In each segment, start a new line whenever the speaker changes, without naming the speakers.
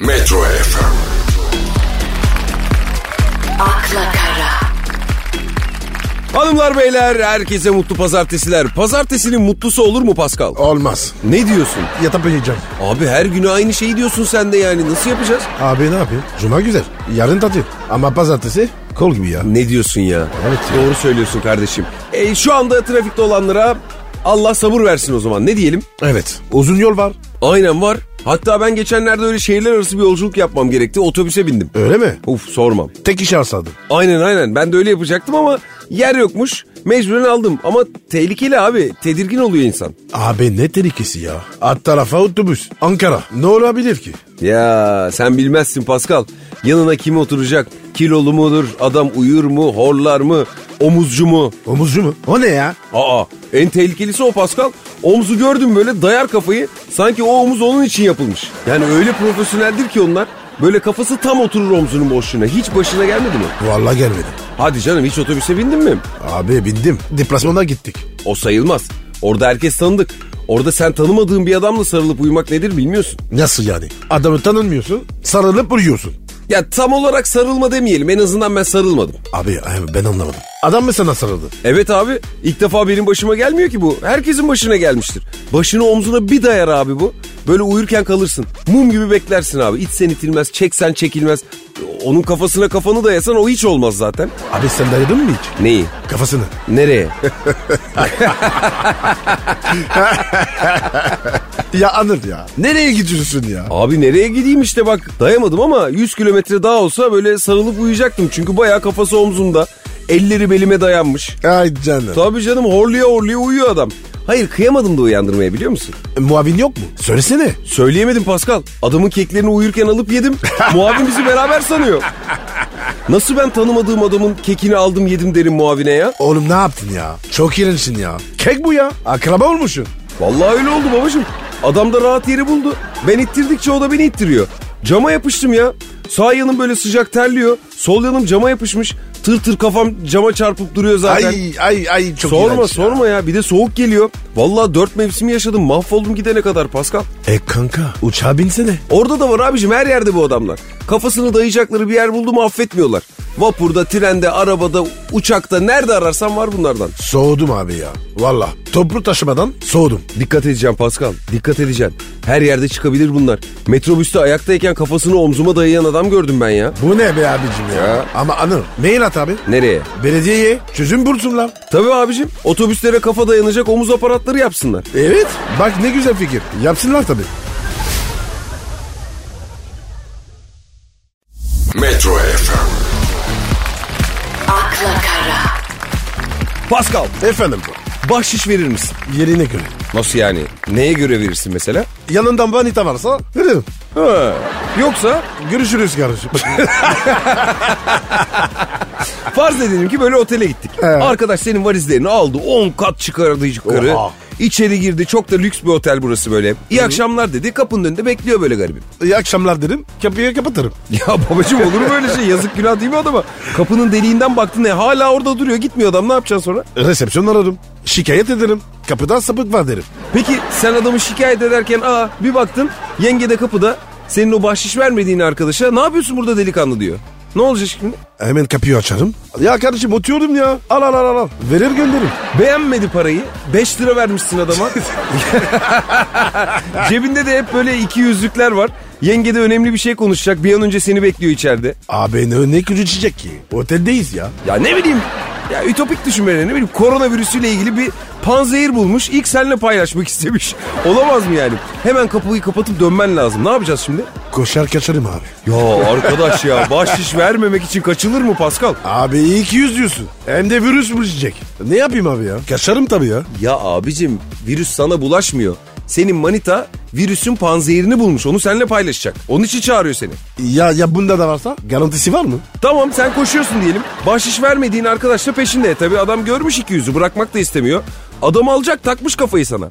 Metro FM,
akla kara,
Hanımlar beyler herkese mutlu pazartesiler. Pazartesinin mutlusu olur mu Pascal?
Olmaz.
Ne diyorsun?
Yatıp yiyeceğim.
Abi her gün aynı şeyi diyorsun sen de yani nasıl yapacağız?
Abi ne yapayım? Cuma güzel. Yarın tatil. Ama pazartesi kol gibi ya.
Ne diyorsun ya?
Evet ya.
Doğru söylüyorsun kardeşim. E, şu anda trafikte olanlara Allah sabır versin o zaman ne diyelim?
Evet. Uzun yol var.
Aynen var. Hatta ben geçenlerde öyle şehirler arası bir yolculuk yapmam gerekti. Otobüse bindim.
Öyle mi?
Uf sormam.
Tek iş alsadım.
Aynen aynen ben de öyle yapacaktım ama yer yokmuş. Mecburen aldım ama tehlikeli abi. Tedirgin oluyor insan.
Abi ne tehlikesi ya? At tarafa otobüs. Ankara. Ne olabilir ki?
Ya sen bilmezsin Pascal. Yanına kim oturacak? Kilolu mudur? Adam uyur mu? Horlar mı? Omuzcu mu?
Omuzcu mu? O ne ya?
Aa en tehlikelisi o Pascal. Omuzu gördüm böyle dayar kafayı. Sanki o omuz onun için yapılmış. Yani öyle profesyoneldir ki onlar. Böyle kafası tam oturur omzunun boşluğuna. Hiç başına gelmedi mi?
Vallahi gelmedi.
Hadi canım hiç otobüse bindin mi?
Abi bindim. Deplasmana gittik.
O sayılmaz. Orada herkes tanıdık. Orada sen tanımadığın bir adamla sarılıp uyumak nedir bilmiyorsun.
Nasıl yani? Adamı tanımıyorsun. Sarılıp uyuyorsun.
Ya tam olarak sarılma demeyelim. En azından ben sarılmadım.
Abi abi ben anlamadım. Adam mı sana sarıldı?
Evet abi ilk defa benim başıma gelmiyor ki bu. Herkesin başına gelmiştir. Başını omzuna bir dayar abi bu. Böyle uyurken kalırsın. Mum gibi beklersin abi. İtsen itilmez, çeksen çekilmez. Onun kafasına kafanı dayasan o hiç olmaz zaten.
Abi sen dayadın mı hiç?
Neyi?
Kafasını.
Nereye?
Ya Anır ya. Nereye gidiyorsun ya?
abi nereye gideyim işte bak. Dayamadım ama 100 kilometre daha olsa böyle sarılıp uyuyacaktım. Çünkü bayağı kafası omzumda. Elleri belime dayanmış.
Ay canım.
Tabii canım horluya horluya uyuyor adam. Hayır kıyamadım da uyandırmaya biliyor musun?
Muavin yok mu? Söylesene.
Söyleyemedim Pascal. Adamın keklerini uyurken alıp yedim. Muavin bizi beraber sanıyor. Nasıl ben tanımadığım adamın kekini aldım yedim derim muavine ya?
Oğlum ne yaptın ya? Çok iğrençsin ya. Kek bu ya. Akraba olmuşsun.
Vallahi öyle oldu babacığım. Adam da rahat yeri buldu. Ben ittirdikçe o da beni ittiriyor. Cama yapıştım ya. Sağ yanım böyle sıcak terliyor. Sol yanım cama yapışmış. Tır tır kafam cama çarpıp duruyor zaten.
Ay ay ay çok
sorma
iğrenç ya.
sorma ya. Bir de soğuk geliyor. Vallahi dört mevsimi yaşadım. Mahvoldum gidene kadar Pascal.
E kanka uçağa binsene.
Orada da var abicim her yerde bu adamlar. Kafasını dayayacakları bir yer buldu mu affetmiyorlar. Vapurda, trende, arabada, uçakta nerede ararsan var bunlardan.
Soğudum abi ya. Valla toplu taşımadan soğudum.
Dikkat edeceğim Pascal, dikkat edeceğim. Her yerde çıkabilir bunlar. Metrobüste ayaktayken kafasını omzuma dayayan adam gördüm ben ya.
Bu ne be abicim ya?
Ya.
Ama Anır mail at abi.
Nereye?
Belediyeye çözüm bulsunlar.
Tabii abicim otobüslere kafa dayanacak omuz aparatları yapsınlar.
Evet bak ne güzel fikir. Yapsınlar tabii.
Metro FM,
akla kara,
Pascal,
Efendim
bahşiş verir misin?
yerine göre.
Nasıl yani? Neye göre verirsin mesela?
Yanından vanita varsa veririm.
Ha. Yoksa
Görüşürüz kardeşim.
Farz edelim ki böyle otele gittik. Arkadaş senin valizlerini aldı. 10 kat çıkardı yukarı.
Oha.
İçeri girdi. Çok da lüks bir otel burası böyle. İyi akşamlar dedi. Kapının önünde bekliyor böyle garibim.
İyi akşamlar derim. Kapıyı kapatırım.
Ya babacığım olur mu öyle şey? Yazık günah değil mi adama? Kapının deliğinden baktın ne? Hala orada duruyor. Gitmiyor adam. Ne yapacaksın sonra?
Resepsiyon ararım. Şikayet ederim. Kapıdan sapık var derim.
Peki sen adamı şikayet ederken aa bir baktın yenge de kapıda senin o bahşiş vermediğin arkadaşa ne yapıyorsun burada delikanlı diyor. Ne olacak şimdi?
Hemen kapıyı açarım. Ya kardeşim oturuyorum ya. Al al al al. Verir gönderirim.
Beğenmedi parayı. 5 lira vermişsin adama. Cebinde de hep böyle iki yüzlükler var. Yenge de önemli bir şey konuşacak. Bir an önce seni bekliyor içeride.
Abi ne, ne gücü içecek ki? Oteldeyiz ya.
Ya ne bileyim. Ya ütopik düşünmeleri ne bileyim. Koronavirüsüyle ilgili bir panzehir bulmuş. İlk seninle paylaşmak istemiş. Olamaz mı yani? Hemen kapıyı kapatıp dönmen lazım. Ne yapacağız şimdi?
Koşar kaçarım abi.
Ya arkadaş ya bahşiş vermemek için kaçılır mı Pascal?
Abi iyi ki yüz diyorsun. Hem de virüs bulaşacak. Ne yapayım abi ya? Kaçarım tabii ya.
Ya abicim virüs sana bulaşmıyor. Senin manita virüsün panzehirini bulmuş. Onu seninle paylaşacak. Onun için çağırıyor seni.
Ya ya bunda da varsa garantisi var mı?
Tamam sen koşuyorsun diyelim. Bahşiş vermediğin arkadaş da peşinde. Tabii adam görmüş iki yüzü bırakmak da istemiyor. Adam alacak takmış kafayı sana.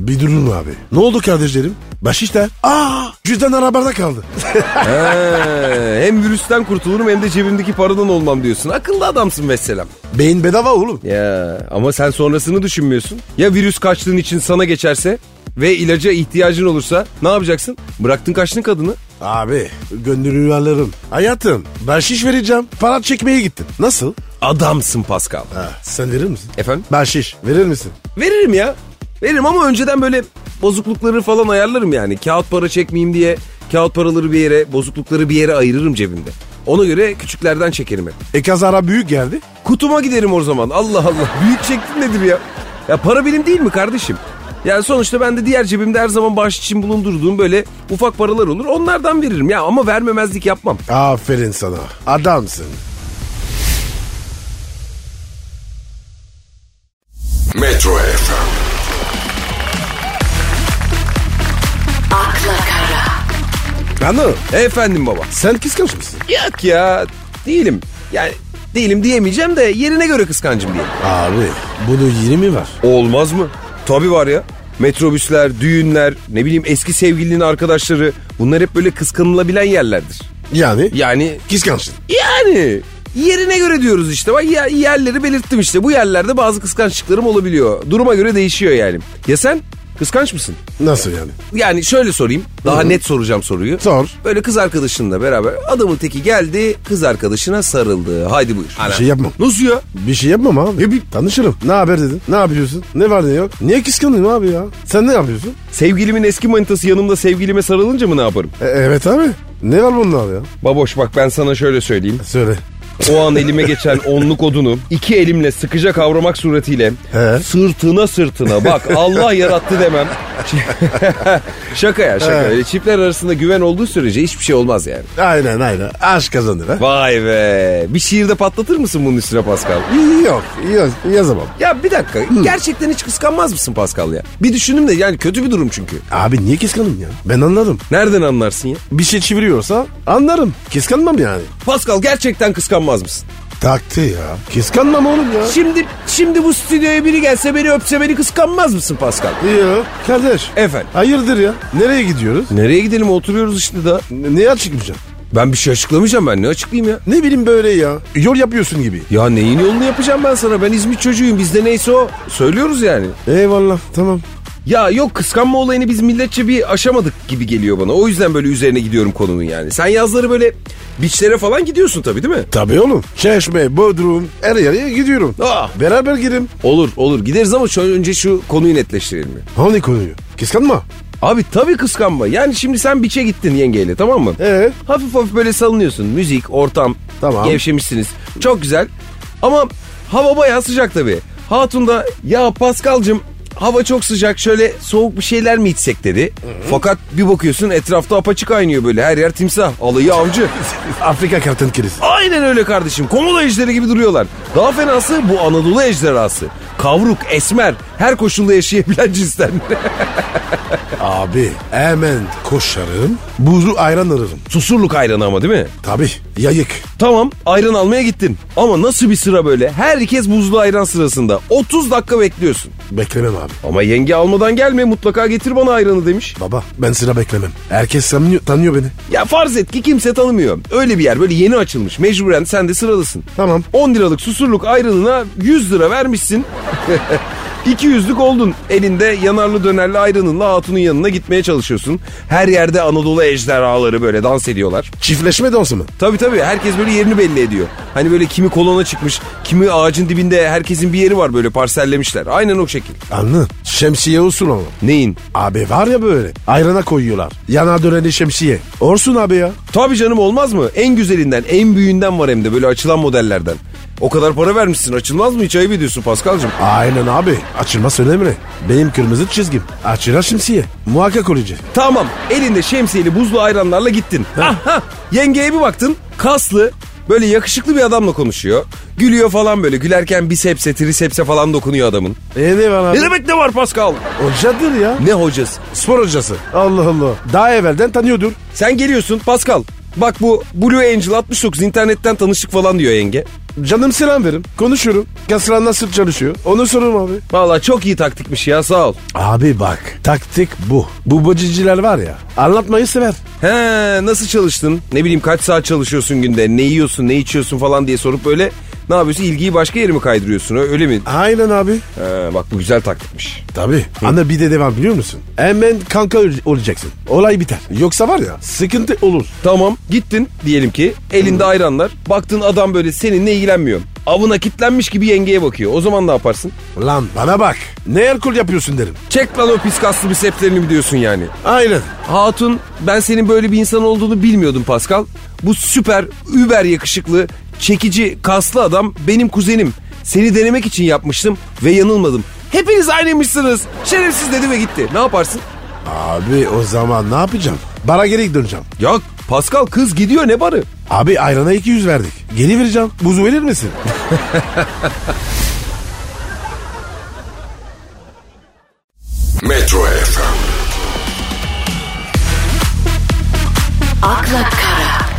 Bir durun abi. Ne oldu kardeşlerim? Baş işte. Aa cüzdan arabada kaldı.
He, Ee, hem virüsten kurtulurum hem de cebimdeki paradan olmam diyorsun. Akıllı adamsın mesela.
Beyin bedava oğlum.
Ya ama sen sonrasını düşünmüyorsun. Ya virüs kaçtığın için sana geçerse? ve ilaca ihtiyacın olursa ne yapacaksın? Bıraktın kaçtın kadını.
Abi gönlünü alırım. Hayatım ben şiş vereceğim. Para çekmeye gittim. Nasıl?
Adamsın Pascal.
Ha, sen verir misin?
Efendim?
Ben şiş. Verir misin?
Veririm ya. Veririm ama önceden böyle bozuklukları falan ayarlarım yani. Kağıt para çekmeyeyim diye kağıt paraları bir yere, bozuklukları bir yere ayırırım cebimde. Ona göre küçüklerden çekerim hep.
E kazara büyük geldi.
Kutuma giderim o zaman. Allah Allah. Büyük çektim nedir ya? Ya para benim değil mi kardeşim? Yani sonuçta ben de diğer cebimde her zaman bağış için bulundurduğum böyle ufak paralar olur. Onlardan veririm ya ama vermemezlik yapmam.
Aferin sana. Adamsın.
Metro FM,
akla kara,
Anı.
Efendim baba.
Sen kıskanç mısın?
Yok ya değilim. Yani değilim diyemeyeceğim de yerine göre kıskancım diye.
Abi bunun yeri mi var?
Olmaz mı? Tabii var ya. Metrobüsler, düğünler, ne bileyim eski sevgilinin arkadaşları bunlar hep böyle kıskanılabilen yerlerdir.
Yani?
Yani
Kıskançsın.
yani yerine göre diyoruz işte. Bak ya- yerleri belirttim işte. Bu yerlerde bazı kıskançlıklarım olabiliyor. Duruma göre değişiyor yani. Ya sen kıskanç mısın?
Nasıl yani?
Yani şöyle sorayım. Daha net soracağım soruyu.
Sor.
Böyle kız arkadaşınla beraber adamın teki geldi kız arkadaşına sarıldı. Haydi buyur.
Bir şey yapmam.
Nasıl ya?
Bir şey yapmam abi. bir... Tanışırım. Ne haber dedin? Ne yapıyorsun? Ne var ne yok? Niye kıskanayım abi ya? Sen ne yapıyorsun?
Sevgilimin eski manitası yanımda sevgilime sarılınca mı ne yaparım?
E, evet abi. Ne var bunlar ya?
Baboş bak ben sana şöyle söyleyeyim.
Söyle.
O an elime geçen onluk odunu iki elimle sıkıca kavramak suretiyle
He.
sırtına sırtına bak Allah yarattı demem. şaka ya şaka.
He.
Öyle çiftler arasında güven olduğu sürece hiçbır şey olmaz yani.
Aynen aynen. Aşk kazanır ha.
Vay be. Bir şiirde patlatır mısın bunun üstüne Pascal?
Yok. Yaz, yazamam.
Ya bir dakika. Gerçekten hiç kıskanmaz mısın Pascal ya? Bir düşündüm de yani kötü bir durum çünkü.
Abi niye kıskanım ya? Ben anladım.
Nereden anlarsın ya?
Bir şey çeviriyorsa anlarım. Kıskanmam yani.
Pascal gerçekten kıskanmaz mısın?
Taktı ya. Kıskanmam oğlum ya.
Şimdi şimdi bu stüdyoya biri gelse beni öpse beni kıskanmaz mısın Pascal?
Yok kardeş.
Efendim.
Hayırdır ya? Nereye gidiyoruz?
Nereye gidelim oturuyoruz işte daha.
N- Neye çıkmayacaksın?
Ben bir şey açıklamayacağım ben ne açıklayayım ya?
Ne bileyim böyle ya. Yol yapıyorsun gibi.
Ya neyin yolunu yapacağım ben sana? Ben İzmit çocuğuyum. Bizde neyse o. Söylüyoruz yani.
Eyvallah tamam.
Ya yok kıskanma olayını biz milletçe bir aşamadık gibi geliyor bana. O yüzden böyle üzerine gidiyorum konunun yani. Sen yazları böyle biçlere falan gidiyorsun tabii değil mi?
Tabii oğlum. Çeşme, Bodrum, her yere gidiyorum.
Ah.
Beraber gidelim.
Olur olur gideriz ama şöyle önce şu konuyu netleştirelim. ya.
Hani konuyu? Kıskanma.
Abi tabii kıskanma. Yani şimdi sen biçe gittin yengeyle tamam mı?
Ee?
Hafif hafif böyle salınıyorsun. Müzik, ortam.
Tamam.
Gevşemişsiniz. Çok güzel. Ama hava bayağı sıcak tabii. Hatun da ya Paskal'cım hava çok sıcak şöyle soğuk bir şeyler mi içsek dedi. Fakat bir bakıyorsun etrafta apaçık kaynıyor böyle her yer timsah alayı avcı.
Afrika kertenkelesi.
Aynen öyle kardeşim. Komodo ejderi gibi duruyorlar. Daha fenası bu Anadolu ejderhası. Kavruk, esmer, her koşulda yaşayabilen cinsten.
Abi hemen koşarım. Buzu ayran alırım.
Susurluk hayranı ama değil mi?
Tabii yayık.
Tamam ayran almaya gittin. Ama nasıl bir sıra böyle? Herkes buzlu ayran sırasında. 30 dakika bekliyorsun.
Beklemem abi.
Ama yenge almadan gelme mutlaka getir bana ayranı demiş.
Baba ben sıra beklemem. Herkes tanıyor, tanıyor beni.
Ya farz et ki kimse tanımıyor. Öyle bir yer böyle yeni açılmış. Mecburen sen de sıralısın.
Tamam.
10 liralık susurluk ayranına 100 lira vermişsin. 200'lük oldun. Elinde yanarlı dönerli ayranınla hatunun yanına gitmeye çalışıyorsun. Her yerde Anadolu ejderhaları böyle dans ediyorlar.
Çiftleşme dansı mı?
Tabii tabii herkes böyle yerini belli ediyor. Hani böyle kimi kolona çıkmış, kimi ağacın dibinde herkesin bir yeri var böyle parsellemişler. Aynen o şekil.
Anladım. Şemsiye olsun ama.
Neyin?
Abi var ya böyle. Ayrana koyuyorlar. Yana döneni şemsiye. Orsun abi ya.
Tabii canım olmaz mı? En güzelinden, en büyüğünden var hem de böyle açılan modellerden. O kadar para vermişsin açılmaz mı? Hiç ayıp ediyorsun Paskal'cığım.
Aynen abi. Açılmaz önemli. Benim kırmızı çizgim. Açılar şemsiye. Muhakkak olacak.
Tamam elinde şemsiyeli buzlu ayranlarla gittin. Aha, yengeye bir baktın kaslı böyle yakışıklı bir adamla konuşuyor. Gülüyor falan böyle gülerken bisepse trisepse falan dokunuyor adamın.
E ne var abi?
Ne demek ne var Paskal?
Hocadır ya.
Ne hocası?
Spor hocası. Allah Allah. Daha evvelden tanıyordur.
Sen geliyorsun Pascal. Bak bu Blue Angel 69 internetten tanıştık falan diyor yenge.
Canım selam verim. Konuşuyorum. Kasran nasıl çalışıyor? Onu soruyorum abi.
Vallahi çok iyi taktikmiş ya sağ ol.
Abi bak. Taktik bu. Bu bacıcılar var ya. Anlatmayı sever.
He nasıl çalıştın? Ne bileyim kaç saat çalışıyorsun günde? Ne yiyorsun, ne içiyorsun falan diye sorup böyle Ne yapıyorsun? İlgiyi başka yere mi kaydırıyorsun? Öyle mi?
Aynen abi.
Ee, bak bu güzel taktikmiş.
Tabii. Anne bir de devam biliyor musun? Hemen kanka ol- olacaksın. Olay biter. Yoksa var ya sıkıntı olur.
Tamam gittin diyelim ki elinde ayranlar. Baktın adam böyle seninle ilgilenmiyor. Avına kitlenmiş gibi yengeye bakıyor. O zaman ne yaparsın?
Lan bana bak. Ne erkol yapıyorsun derim.
Çek lan o pis kaslı biseplerini mi diyorsun yani?
Aynen.
Hatun ben senin böyle bir insan olduğunu bilmiyordum Pascal. Bu süper, über yakışıklı, çekici, kaslı adam benim kuzenim. Seni denemek için yapmıştım ve yanılmadım. Hepiniz aynıymışsınız. Şerefsiz dedi ve gitti. Ne yaparsın?
Abi o zaman ne yapacağım? Bara geri döneceğim.
Ya Pascal kız gidiyor ne barı?
Abi ayrana 200 verdik. Geri vereceğim. Buzu verir misin?
Metro FM,
akla kara,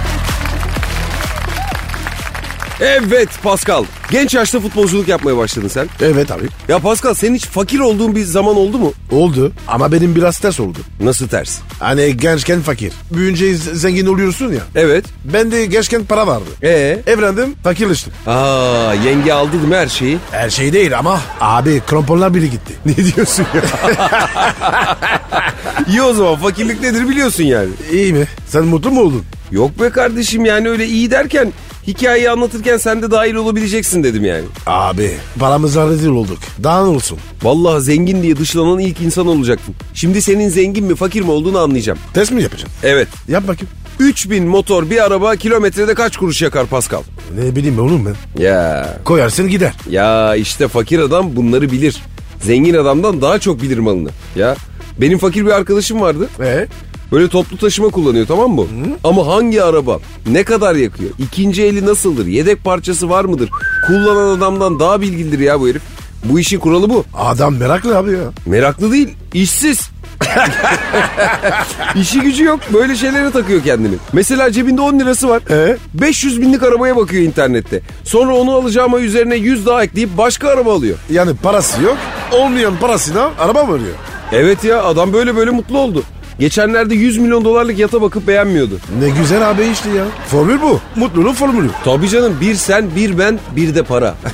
Evet Pascal. Genç yaşta futbolculuk yapmaya başladın sen.
evet abi.
Ya Pascal senin hiç fakir olduğun bir zaman oldu mu?
Oldu ama benim biraz ters oldu.
Nasıl ters?
Hani gençken fakir. Büyünce z- zengin oluyorsun ya.
Evet.
Ben de gençken para vardı.
Ee?
Evlendim fakirleştim.
Aa yenge aldı değil mi her şeyi?
Her şey değil ama. Abi kramponlar bile gitti. Ne diyorsun ya?
İyi o zaman fakirlik nedir biliyorsun yani.
İyi mi? Sen mutlu mu oldun?
Yok be kardeşim yani öyle iyi derken hikayeyi anlatırken sen de dahil olabileceksin dedim yani.
Abi paramızla rezil olduk. Daha ne olsun?
Vallahi zengin diye dışlanan ilk insan olacaktım. Şimdi senin zengin mi fakir mi olduğunu anlayacağım.
Test mi yapacaksın?
Evet.
Yap bakayım.
3000 motor bir araba kilometrede kaç kuruş yakar Pascal?
Ne bileyim oğlum ben.
Ya
Koyarsın gider.
ya işte fakir adam bunları bilir. Zengin adamdan daha çok bilir malını. Ya benim fakir bir arkadaşım vardı.
Ee?
Böyle toplu taşıma kullanıyor tamam mı? Ama hangi araba? Ne kadar yakıyor? İkinci eli nasıldır? Yedek parçası var mıdır? Kullanan adamdan daha bilgilidir ya bu herif. Bu işin kuralı bu.
Adam meraklı abi ya.
Meraklı değil, işsiz. İşi gücü yok. Böyle şeylere takıyor kendini. Mesela cebinde 10 lirası var.
Ee?
500 binlik arabaya bakıyor internette. Sonra onu alacağıma üzerine 100 daha ekleyip başka araba alıyor.
Yani parası yok. Olmayan parasına araba mı arıyor?
Evet ya adam böyle böyle mutlu oldu. Geçenlerde 100 milyon dolarlık yata bakıp beğenmiyordu.
Ne güzel abi işte ya. Formül bu. Mutluluğun formülü.
Tabii canım bir sen bir ben bir de para.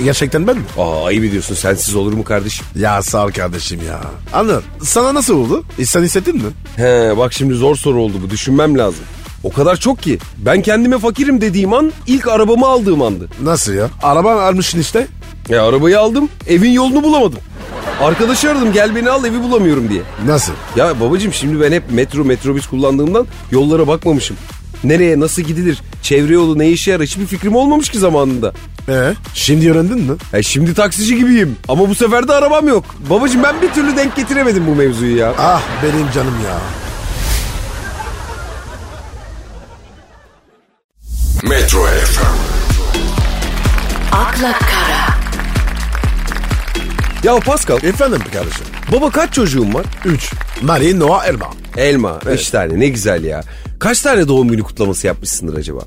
E, Gerçekten ben mi?
Aa ayıp ediyorsun sensiz olur mu kardeşim?
Ya sağ ol kardeşim ya. Anıl sana nasıl oldu? E, sen hissettin mi?
He bak şimdi zor soru oldu bu düşünmem lazım. O kadar çok ki ben kendime fakirim dediğim an ilk arabamı aldığım andı.
Nasıl ya? Araban almışsın işte.
E arabayı aldım evin yolunu bulamadım. Arkadaşı aradım gel beni al evi bulamıyorum diye.
Nasıl?
Ya babacım şimdi ben hep metro metrobüs kullandığımdan yollara bakmamışım. Nereye nasıl gidilir çevre yolu ne işe yarar hiçbir fikrim olmamış ki zamanında.
Ee? Şimdi öğrendin mi?
E şimdi taksici gibiyim ama bu sefer de arabam yok. Babacım ben bir türlü denk getiremedim bu mevzuyu ya.
Ah benim canım ya.
Metro FM,
akla kara,
Ya Pascal e,
Efendim kardeşim.
baba kaç çocuğun var?
3. Marie Noah Erba.
Elma. Üç tane ne güzel ya. Kaç tane doğum günü kutlaması yapmışsındır acaba?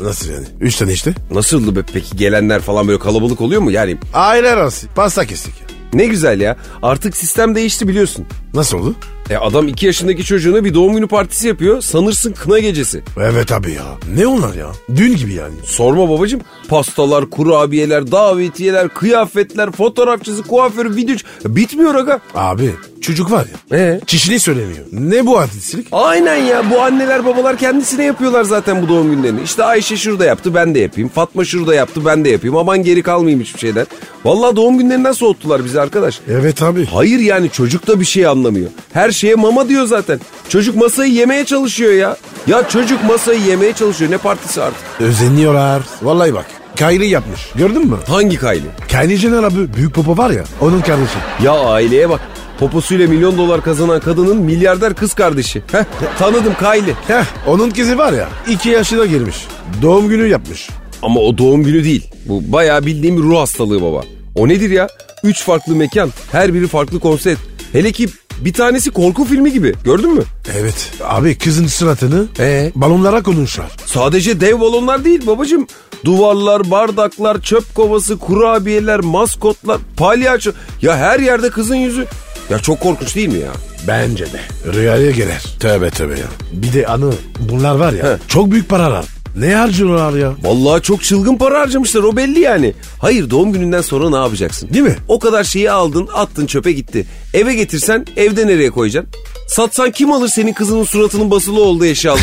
Nasıl yani? 3 tane işte.
Nasıldı be peki gelenler falan böyle kalabalık oluyor mu? Yani
Aile arası. Pasta kestik.
ne güzel ya. Artık sistem değişti biliyorsun.
Nasıl oldu?
E adam iki yaşındaki çocuğuna bir doğum günü partisi yapıyor. Sanırsın kına gecesi.
Evet abi ya. Ne onlar ya? Dün gibi yani.
Sorma babacım. Pastalar, kurabiyeler, davetiyeler, kıyafetler, fotoğrafçısı, kuaförü, video... E, Bitmiyor aga.
Abi çocuk var ya.
Ee?
Çişini söylemiyor. Ne bu hadislik?
Aynen ya bu anneler babalar kendisine yapıyorlar zaten bu doğum günlerini. İşte Ayşe şurada yaptı ben de yapayım. Fatma şurada yaptı ben de yapayım. Aman geri kalmayayım hiçbir şeyden. Vallahi doğum günlerinden soğuttular bizi arkadaş.
Evet abi.
Hayır yani çocuk da bir şey anlamıyor. Her şeye mama diyor zaten. Çocuk masayı yemeye çalışıyor ya. Ya çocuk masayı yemeye çalışıyor ne partisi artık.
Özeniyorlar. Vallahi bak. Kayri yapmış. Gördün mü?
Hangi kaylı?
Kayri Jenner abi. Büyük baba var ya. Onun kardeşi.
Ya aileye bak. Poposuyla milyon dolar kazanan kadının milyarder kız kardeşi. Heh, tanıdım Kylie.
Heh. Onun kızı var ya. 2 yaşına girmiş. Doğum günü yapmış.
Ama o doğum günü değil. Bu bayağı bildiğim bir ruh hastalığı baba. O nedir ya? Üç farklı mekan, her biri farklı konsept. Hele ki bir tanesi korku filmi gibi. Gördün mü?
Evet. Abi kızın suratını e,
Ee?
balonlara konuşlar.
Sadece dev balonlar değil babacım. Duvarlar, bardaklar, çöp kovası, kurabiyeler, maskotlar, palyaço. Ya her yerde kızın yüzü. Ya çok korkunç değil mi ya?
Bence de. Rüyaya girer. Tövbe tövbe ya. Bir de anı bunlar var ya. Çok büyük paralar. Ne harcıyorlar ya?
Vallahi çok çılgın para harcamışlar o belli yani. Hayır doğum gününden sonra ne yapacaksın?
Değil mi?
O kadar şeyi aldın attın çöpe gitti. Eve getirsen evde nereye koyacaksın? Satsan kim alır senin kızının suratının basılı olduğu eşyaları?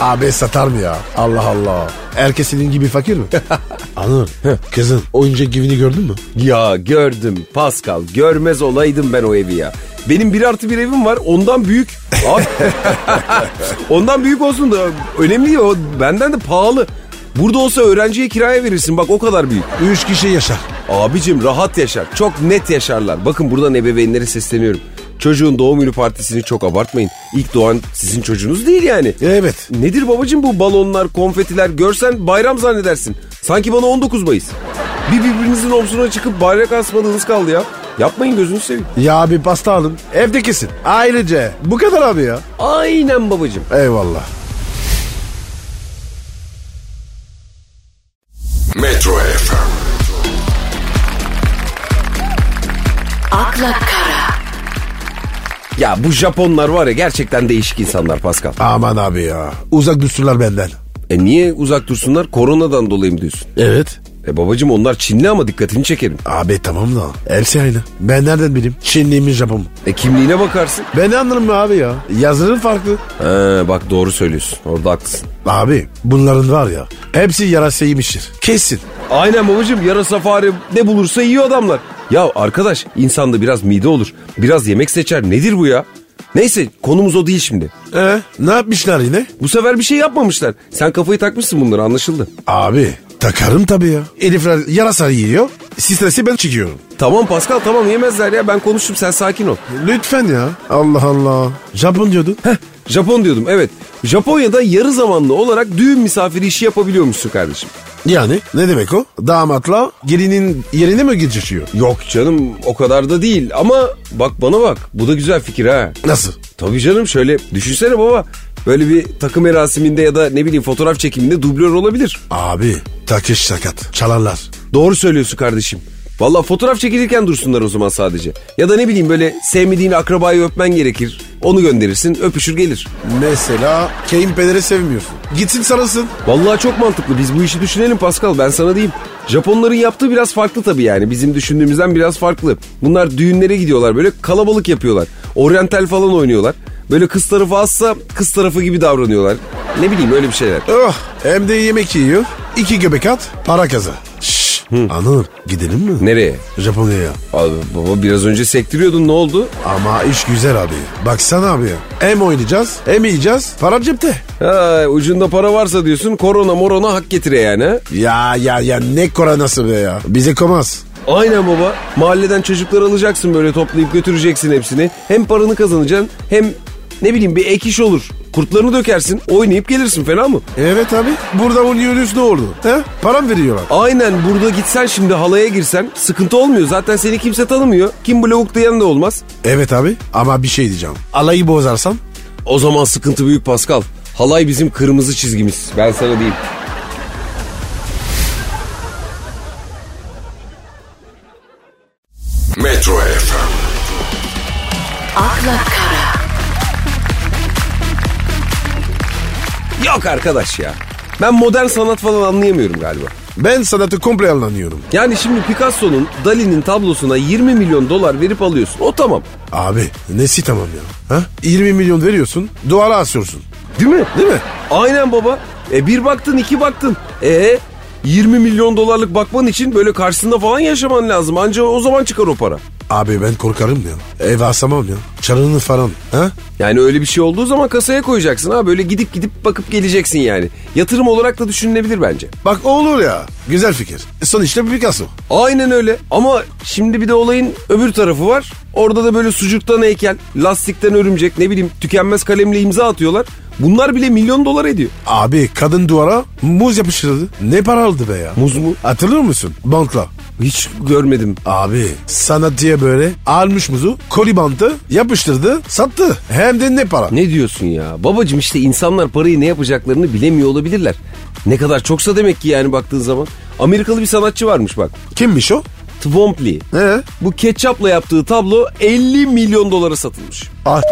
Abi satar mı ya? Allah Allah. Herkes senin gibi fakir mi? Anır. Kızın oyuncak givini gördün mü?
ya gördüm Pascal görmez olaydım ben o evi ya. Benim bir artı bir evim var ondan büyük. Abi, ondan büyük olsun da önemli değil o benden de pahalı. Burada olsa öğrenciye kiraya verirsin bak o kadar büyük.
Üç kişi yaşar.
Abicim rahat yaşar. Çok net yaşarlar. Bakın buradan ebeveynlere sesleniyorum. Çocuğun doğum günü partisini çok abartmayın. İlk doğan sizin çocuğunuz değil yani.
Evet.
Nedir babacım bu balonlar, konfetiler görsen bayram zannedersin. Sanki bana 19 Mayıs. Bir birbirinizin omzuna çıkıp bayrak asmadığınız kaldı ya. Yapmayın gözünü seveyim.
Ya abi pasta alın. Evdekisin. Ayrıca bu kadar abi ya.
Aynen babacım.
Eyvallah.
Metro FM,
akla kara,
Ya bu Japonlar var ya gerçekten değişik insanlar Pascal.
Aman abi ya. Uzak dursunlar benden.
E niye uzak dursunlar? Koronadan dolayı mı diyorsun?
Evet.
E babacım onlar Çinli ama dikkatini çekerim.
Abi tamam da. Hepsi aynı. Ben nereden bileyim? Çinliymiş Japon.
E kimliğine bakarsın.
Ben ne anlarım be abi ya? Yazının farklı.
Ha, Ee, bak doğru söylüyorsun. Orada haklısın.
Abi bunların var ya. Hepsi yarası yemiştir. Kesin.
Aynen babacığım yarasa fare ne bulursa yiyor adamlar. Ya arkadaş insanda biraz mide olur. Biraz yemek seçer. Nedir bu ya? Neyse konumuz o değil şimdi.
Ee, ne yapmışlar yine?
Bu sefer bir şey yapmamışlar. Sen kafayı takmışsın bunları anlaşıldı.
Abi takarım tabii ya. Elifler yarasa yiyor. Stresi ben çekiyorum.
Tamam Pascal tamam yemezler ya ben konuştum sen sakin ol.
Lütfen ya. Allah Allah. Japon diyordu.
Heh, Japon diyordum evet. Japonya'da yarı zamanlı olarak düğün misafiri işi yapabiliyormuşsun kardeşim.
Yani ne demek o? Damatla gelinin yerine mi geçişiyor?
Yok canım o kadar da değil ama bak bana bak bu da güzel fikir ha.
Nasıl?
Tabii canım şöyle düşünsene baba. Böyle bir takım erasiminde ya da ne bileyim fotoğraf çekiminde dublör olabilir.
Abi takış sakat. Çalarlar.
Doğru söylüyorsun kardeşim. Valla fotoğraf çekilirken dursunlar o zaman sadece. Ya da ne bileyim böyle sevmediğin akrabayı öpmen gerekir. Onu gönderirsin öpüşür gelir.
Mesela kayınpederi sevmiyorsun. Gitsin sarılsın.
Vallahi çok mantıklı biz bu işi düşünelim Pascal ben sana diyeyim. Japonların yaptığı biraz farklı tabii yani bizim düşündüğümüzden biraz farklı. Bunlar düğünlere gidiyorlar böyle kalabalık yapıyorlar. Oryantal falan oynuyorlar. Böyle kız tarafı azsa kız tarafı gibi davranıyorlar. Ne bileyim öyle bir şeyler.
Oh hem de yemek yiyor. İki göbek at para kaza. Şşş. Anıl gidelim mi?
Nereye?
Japonya'ya.
Abi baba biraz önce sektiriyordun ne oldu?
Ama iş güzel abi. Baksana abi ya. Hem oynayacağız hem yiyeceğiz. Para cepte.
Ha, ucunda para varsa diyorsun korona morona hak getire yani. ha?
Ya ya ya ne koronası be ya. Bize komaz.
Aynen baba. Mahalleden çocuklar alacaksın böyle toplayıp götüreceksin hepsini. Hem paranı kazanacaksın hem ne bileyim bir ek iş olur. Kurtlarını dökersin oynayıp gelirsin fena mı?
Evet abi. Burada oynuyoruz ne oldu? He? Param veriyorlar.
Aynen burada gitsen şimdi halaya girsen sıkıntı olmuyor. Zaten seni kimse tanımıyor. Kim blok diyen de olmaz.
Evet abi ama bir şey diyeceğim. Alayı bozarsam
O zaman sıkıntı büyük Pascal. Halay bizim kırmızı çizgimiz. Ben sana diyeyim.
Metro FM,
akla kara,
Yok arkadaş ya. Ben modern sanat falan anlayamıyorum galiba.
ben sanatı komple anlanıyorum.
Yani şimdi Picasso'nun Dali'nin tablosuna 20 milyon dolar verip alıyorsun. O tamam.
Abi nesi tamam ya? Ha? 20 milyon veriyorsun duvara asıyorsun.
Değil mi?
Değil mi?
Aynen baba. E bir baktın iki baktın. E 20 milyon dolarlık bakman için böyle karşısında falan yaşaman lazım. Anca o zaman çıkar o para.
Abi ben korkarım ya. Ev asamam ya. Çalınır falan. Ha?
Yani öyle bir şey olduğu zaman kasaya koyacaksın ha. Böyle gidip gidip bakıp geleceksin yani. Yatırım olarak da düşünülebilir bence.
Bak o olur ya. Güzel fikir. Sonuçta Picasso.
Aynen öyle. Ama şimdi bir de olayın öbür tarafı var. Orada da böyle sucuktan heykel, lastikten örümcek, ne bileyim tükenmez kalemle imza atıyorlar. Bunlar bile milyon dolar ediyor.
Abi kadın duvara muz yapıştırdı. Ne para aldı be ya?
Muz mu?
Hatırlıyor musun? Bantla.
Hiç görmedim.
Abi sanat diye böyle almış muzu kolibantı yapıştırdı sattı. Hem de ne para.
Ne diyorsun ya? Babacım işte insanlar parayı ne yapacaklarını bilemiyor olabilirler. Ne kadar çoksa demek ki yani baktığın zaman. Amerikalı bir sanatçı varmış bak.
Kimmiş o?
Twomply.
Ee?
Bu ketçapla yaptığı tablo 50 milyon dolara satılmış.
Ah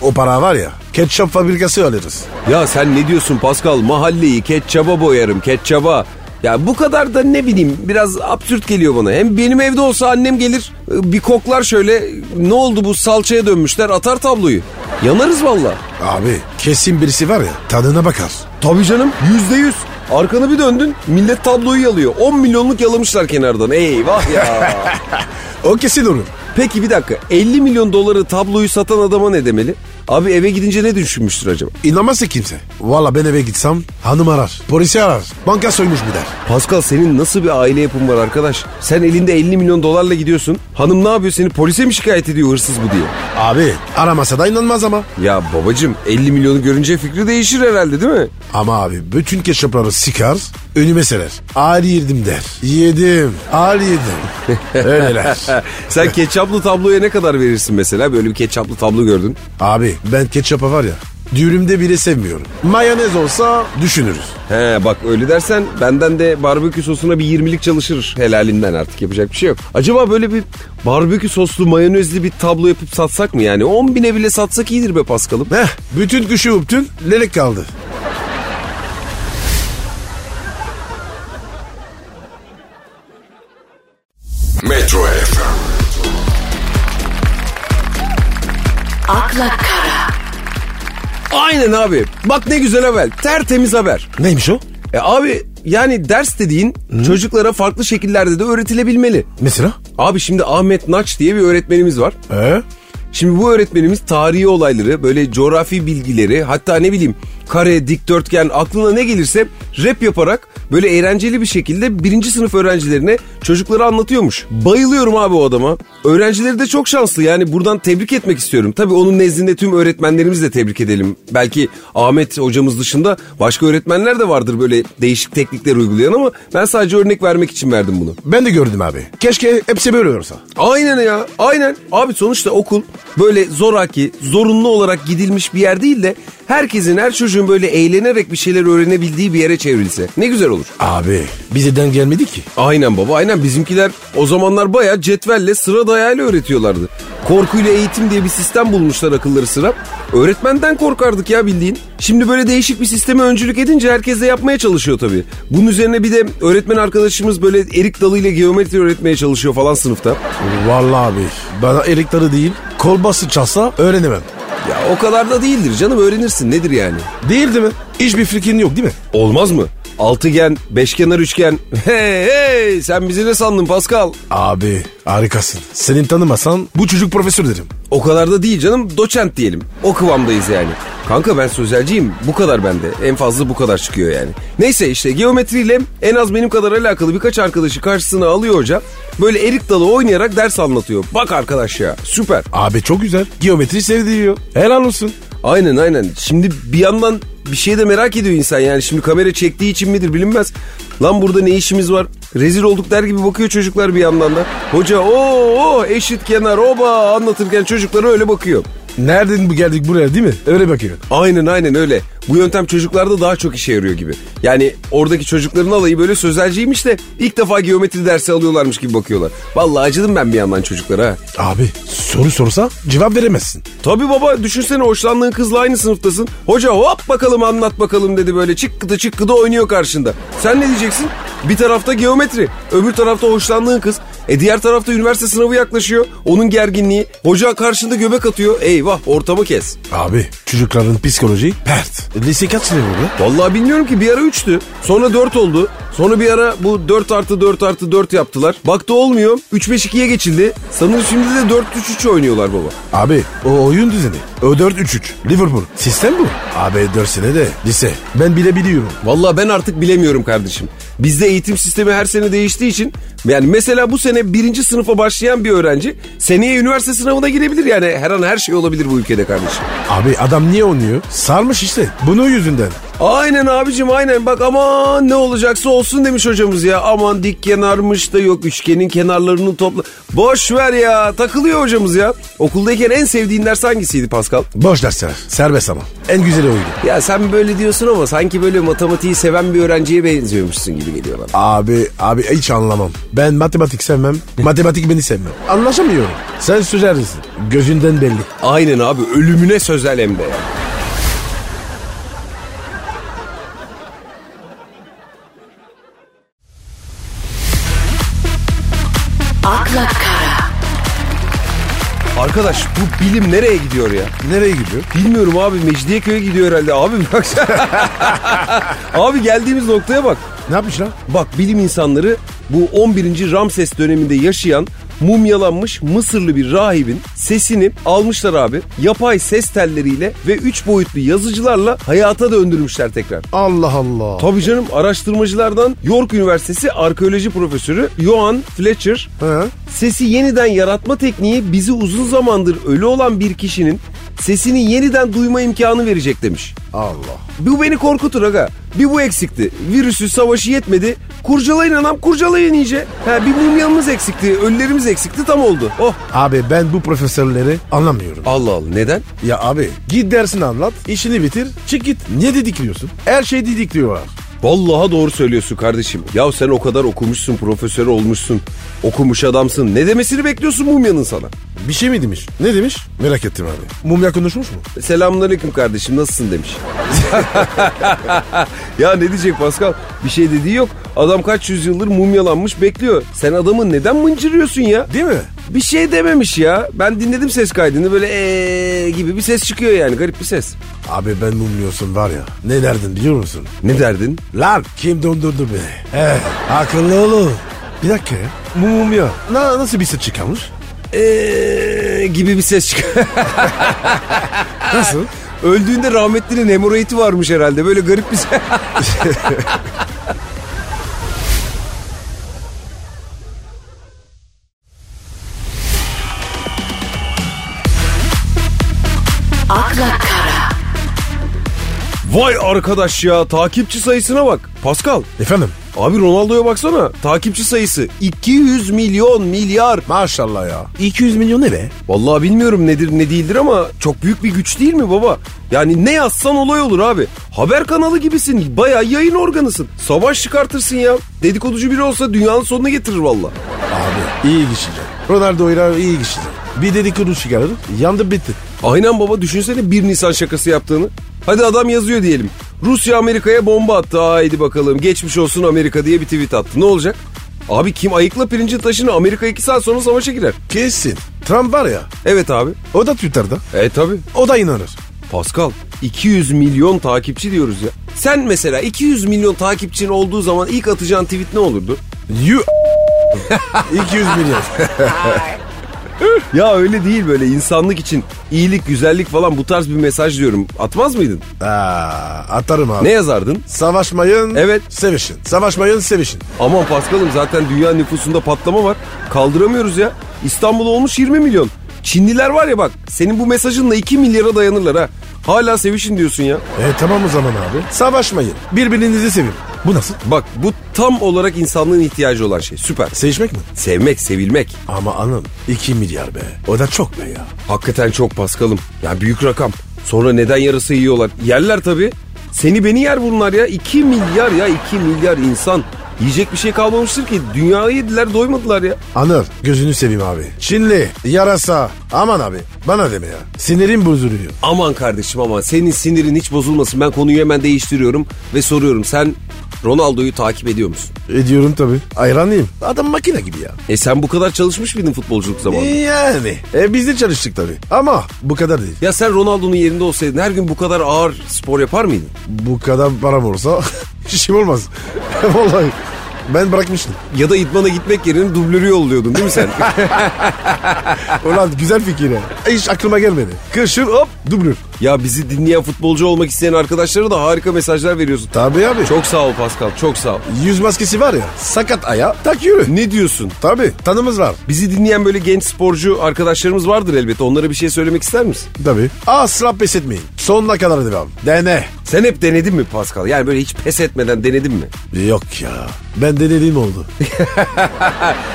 O para var ya ketçap fabrikası alırız.
Ya sen ne diyorsun Pascal? Mahalleyi ketçaba boyarım ketçaba. Ya bu kadar da ne bileyim biraz absürt geliyor bana. Hem benim evde olsa annem gelir e, bir koklar şöyle ne oldu bu salçaya dönmüşler atar tabloyu. Yanarız valla.
Abi kesin birisi var ya tadına bakar.
Tabii canım yüzde yüz. Arkanı bir döndün millet tabloyu yalıyor. 10 milyonluk yalamışlar kenardan eyvah ya.
O kesin olur.
Peki bir dakika 50 milyon doları tabloyu satan adama ne demeli? Abi eve gidince ne düşünmüştür acaba?
İnanmaz ki kimse. Valla ben eve gitsem hanım arar. Polisi arar. Banka soymuş bir der.
Pascal senin nasıl bir aile yapın var arkadaş? Sen elinde 50 milyon dolarla gidiyorsun. Hanım ne yapıyor seni polise mi şikayet ediyor hırsız bu diye?
Abi aramasa da inanmaz ama.
Ya babacım 50 milyonu görünce fikri değişir herhalde değil mi?
Ama abi bütün ketçapları sikar, önüme serer. Ağır yedim der. Yedim, ağır yedim. Öyleler.
Sen ketçaplı tabloya ne kadar verirsin mesela? Böyle bir ketçaplı tablo gördün.
Abi ben ketçapa var ya, düğünümde bile sevmiyorum. Mayonez olsa düşünürüz.
He bak öyle dersen benden de barbekü sosuna bir 20'lik çalışır helalinden artık yapacak bir şey yok. Acaba böyle bir barbekü soslu mayonezli bir tablo yapıp satsak mı yani? 10 bine bile satsak iyidir be Paskal'ım.
Heh, bütün kuşu uptun, lelek kaldı.
Metro FM,
akla kara,
Aynen abi. Bak ne güzel haber. Tertemiz haber.
Neymiş o?
E abi yani ders dediğin çocuklara farklı şekillerde de öğretilebilmeli.
Mesela?
Abi şimdi Ahmet Naç diye bir öğretmenimiz var.
Ee?
Şimdi bu öğretmenimiz tarihi olayları, böyle coğrafi bilgileri, hatta ne bileyim kare, dikdörtgen aklına ne gelirse rap yaparak böyle eğlenceli bir şekilde birinci sınıf öğrencilerine çocuklara anlatıyormuş. Bayılıyorum abi o adama. Öğrencileri de çok şanslı yani buradan tebrik etmek istiyorum. Tabii onun nezdinde tüm öğretmenlerimizi de tebrik edelim. Belki Ahmet hocamız dışında başka öğretmenler de vardır böyle değişik teknikler uygulayan ama ben sadece örnek vermek için verdim bunu.
Ben de gördüm abi. Keşke hepsi böyle olsa.
Aynen ya aynen. Abi sonuçta okul böyle zoraki zorunlu olarak gidilmiş bir yer değil de herkesin her çocuğun böyle eğlenerek bir şeyler öğrenebildiği bir yere çevrilse ne güzel olur.
Abi bizden gelmedi ki.
Aynen baba aynen bizimkiler o zamanlar bayağı cetvelle sıra dayağıyla öğretiyorlardı. Korkuyla eğitim diye bir sistem bulmuşlar akılları sıra. Öğretmenden korkardık ya bildiğin. Şimdi böyle değişik bir sisteme öncülük edince herkes de yapmaya çalışıyor tabii. Bunun üzerine bir de öğretmen arkadaşımız böyle erik dalıyla geometri öğretmeye çalışıyor falan sınıfta.
Vallahi abi bana erikleri değil kol bası çalsa öğrenemem.
Ya o kadar da değildir canım öğrenirsin nedir yani?
Değildi mi? Hiçbir fikrin yok değil mi?
Olmaz mı? Altıgen, beşkenar üçgen. Hey hey sen bizi ne sandın Pascal?
Abi harikasın. Seni tanımasan bu çocuk profesör derim.
O kadar da değil canım doçent diyelim. O kıvamdayız yani. Kanka ben sözelciyim bu kadar bende. En fazla bu kadar çıkıyor yani. Neyse işte geometriyle en az benim kadar alakalı birkaç arkadaşı karşısına alıyor hoca. Böyle erik dalı oynayarak ders anlatıyor. Bak arkadaş ya süper.
Abi çok güzel. Geometri sevdiriyor. Helal olsun.
Aynen aynen. Şimdi bir yandan bir şey de merak ediyor insan yani. Şimdi kamera çektiği için midir bilinmez. Lan burada ne işimiz var? Rezil olduk der gibi bakıyor çocuklar bir yandan da. Hoca o eşit kenar oba anlatırken çocuklara öyle bakıyor.
Nereden bu geldik buraya değil mi? Öyle bakıyor.
Aynen aynen öyle. Bu yöntem çocuklarda daha çok işe yarıyor gibi. Yani oradaki çocukların alayı böyle sözelciymiş de ilk defa geometri dersi alıyorlarmış gibi bakıyorlar. Vallahi acıdım ben bir yandan çocuklara. ha.
Abi soru sorsa cevap veremezsin.
Tabii baba düşünsene hoşlandığın kızla aynı sınıftasın. Hoca hop bakalım anlat bakalım dedi böyle çıkkıda çıkkıda oynuyor karşında. Sen ne diyeceksin? Bir tarafta geometri, öbür tarafta hoşlandığın kız. E diğer tarafta üniversite sınavı yaklaşıyor. Onun gerginliği. Hoca karşında göbek atıyor. Eyvah ortamı kes.
Abi çocukların psikoloji pert. E, Lise kaç sene burada?
Vallahi bilmiyorum ki bir ara 3'tü. Sonra 4 oldu. Sonra bir ara bu 4 artı 4 artı 4 yaptılar. Baktı olmuyor. 3-5-2'ye geçildi. Sanırım şimdi de 4-3-3 oynuyorlar baba.
Abi o oyun düzeni. O 4-3-3. Liverpool. Sistem bu. Abi 4 sene de lise. Ben bile biliyorum.
Vallahi ben artık bilemiyorum kardeşim. Bizde eğitim sistemi her sene değiştiği için yani mesela bu sene birinci sınıfa başlayan bir öğrenci seneye üniversite sınavına girebilir yani her an her şey olabilir bu ülkede kardeşim.
Abi adam niye oynuyor? Sarmış işte. Bunun yüzünden.
Aynen abicim aynen bak aman ne olacaksa olsun demiş hocamız ya. Aman dik kenarmış da yok üçgenin kenarlarını topla. Boş ver ya takılıyor hocamız ya. Okuldayken en sevdiğin ders hangisiydi Pascal?
Boş dersler. Serbest ama. En güzeli oydu.
Ya sen böyle diyorsun ama sanki böyle matematiği seven bir öğrenciye benziyormuşsun gibi geliyor bana.
Abi, abi hiç anlamam. Ben matematik sevmem. matematik beni sevmem. Anlaşamıyorum. Sen sözerlisin. Gözünden belli.
Aynen abi ölümüne sözel hem de.
akla kara,
Arkadaş bu bilim nereye gidiyor ya?
Nereye gidiyor?
Bilmiyorum abi Mecidiyeköy'e gidiyor herhalde. Abi bak. abi geldiğimiz noktaya bak.
Ne yapmış lan?
Bak bilim insanları bu 11. Ramses döneminde yaşayan mumyalanmış Mısırlı bir rahibin sesini almışlar abi. Yapay ses telleriyle ve 3 boyutlu yazıcılarla hayata döndürmüşler tekrar.
Allah Allah.
Tabii canım araştırmacılardan York Üniversitesi arkeoloji profesörü Johan Fletcher
He.
Sesi yeniden yaratma tekniği bizi uzun zamandır ölü olan bir kişinin sesini yeniden duyma imkanı verecek demiş.
Allah.
Bu beni korkutur aga. Bir bu eksikti. Virüsü savaşı yetmedi. Kurcalayın anam kurcalayın iyice. Ha bir mumyamız eksikti. Ölülerimiz eksikti tam oldu. Oh.
Abi ben bu profesörleri anlamıyorum.
Allah Allah neden?
Ya abi git dersini anlat, işini bitir, çık git. Niye didikliyorsun? Her şey didikliyorlar.
Vallahi doğru söylüyorsun kardeşim. Ya sen o kadar okumuşsun, profesör olmuşsun. Okumuş adamsın. Ne demesini bekliyorsun mumyanın sana?
Bir şey mi demiş? Ne demiş? Merak ettim abi. Mumya konuşmuş mu?
Selamünaleyküm kardeşim nasılsın demiş. ya ne diyecek Pascal? Bir şey dediği yok. Adam kaç yüzyıldır mumyalanmış bekliyor. Sen adamı neden mıncırıyorsun ya?
Değil mi?
Bir şey dememiş ya. Ben dinledim ses kaydını böyle eee gibi bir ses çıkıyor yani garip bir ses.
Abi ben mumluyorsun var ya. Ne derdin biliyor musun?
Ne derdin?
Lan kim dondurdu beni? Eh akıllı olun. Bir dakika ya. Bu mumya. Na, nasıl bir ses çıkarmış?
Eee gibi bir ses çıkıyor.
Nasıl?
Öldüğünde rahmetlinin hemoroidi varmış herhalde böyle garip bir ses.
akla kara,
Vay arkadaş ya takipçi sayısına bak. Pascal
Efendim?
abi Ronaldo'ya baksana takipçi sayısı 200 milyon milyar.
Maşallah ya. 200 milyon ne be?
Vallahi bilmiyorum nedir ne değildir ama çok büyük bir güç değil mi baba? Yani ne yazsan olay olur abi. Haber kanalı gibisin. Bayağı yayın organısın. Savaş çıkartırsın ya. Dedikoducu biri olsa dünyanın sonuna getirir valla.
Abi iyi kişidir. Ronaldo'yla iyi kişidir. Bir dedikodu çıkarır. Yandı bitti.
Aynen baba düşünsene 1 Nisan şakası yaptığını. Hadi adam yazıyor diyelim. Rusya Amerika'ya bomba attı. Haydi bakalım geçmiş olsun Amerika diye bir tweet attı. Ne olacak? Abi kim ayıkla pirincin taşını Amerika 2 saat sonra savaşa girer.
Kesin. Trump var ya.
Evet abi.
O da Twitter'da.
E tabi.
O da inanır.
Pascal 200 milyon takipçi diyoruz ya. Sen mesela 200 milyon takipçin olduğu zaman ilk atacağın tweet ne olurdu?
You 200 milyon.
Ya öyle değil böyle insanlık için iyilik, güzellik falan bu tarz bir mesaj diyorum. Atmaz mıydın?
Aa, atarım abi.
Ne yazardın?
Savaşmayın.
Evet.
Sevişin. Savaşmayın sevişin.
Aman Pascal'ım zaten dünya nüfusunda patlama var. Kaldıramıyoruz ya. İstanbul olmuş 20 milyon. Çinliler var ya bak senin bu mesajınla 2 milyara dayanırlar ha. Hala sevişin diyorsun ya.
E tamam o zaman abi. Savaşmayın. Birbirinizi sevin. Bu nasıl?
Bak bu tam olarak insanlığın ihtiyacı olan şey. Süper.
Sevişmek mi?
Sevmek, sevilmek.
Ama anam 2 milyar be. O da çok be ya.
Hakikaten çok Paskal'ım. Ya büyük rakam. Sonra neden yarısı yiyorlar? Yerler tabii. Seni beni yer bunlar ya. 2 milyar ya 2 milyar insan. Yiyecek bir şey kalmamıştır ki. Dünyayı yediler doymadılar ya.
Anır gözünü seveyim abi. Çinli, yarasa. Aman abi bana deme ya. Sinirim bozuluyor.
Aman kardeşim aman senin sinirin hiç bozulmasın. Ben konuyu hemen değiştiriyorum ve soruyorum. Sen Ronaldo'yu takip ediyor musun?
Ediyorum E, tabii. Hayranıyım. Adam makine gibi ya.
E sen bu kadar çalışmış mıydın futbolculuk zamanında?
Yani. E, biz de çalıştık tabii. Ama bu kadar değil.
Ya sen Ronaldo'nun yerinde olsaydın her gün bu kadar ağır spor yapar mıydın?
Bu kadar param olsa işim olmaz. Vallahi ben bırakmıştım.
Ya da idmana gitmek yerine dublörü yolluyordun değil mi sen?
Ulan güzel fikir ya. Hiç aklıma gelmedi. Kışın hop dublür.
Ya bizi dinleyen futbolcu olmak isteyen arkadaşlara da harika mesajlar veriyorsun.
Tabii abi.
Çok sağ ol Pascal, çok sağ ol.
Yüz maskesi var ya sakat aya tak yürü.
Ne diyorsun?
Tabii tanımız var.
Bizi dinleyen böyle genç sporcu arkadaşlarımız vardır elbette. Onlara bir şey söylemek ister misin?
Tabii. Asla pes etmeyin. Sonuna kadar devam. Dene.
Sen hep denedin mi Pascal? Yani böyle hiç pes etmeden denedin mi?
Yok ya. Ben denediğim oldu.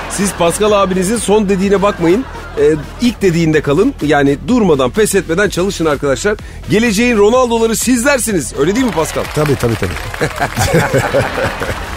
Siz Pascal abinizin son dediğine bakmayın. Ee, ilk dediğinde kalın. Yani durmadan, pes etmeden çalışın arkadaşlar. Geleceğin Ronaldo'ları sizlersiniz. Öyle değil mi Pascal?
Tabii tabii tabii.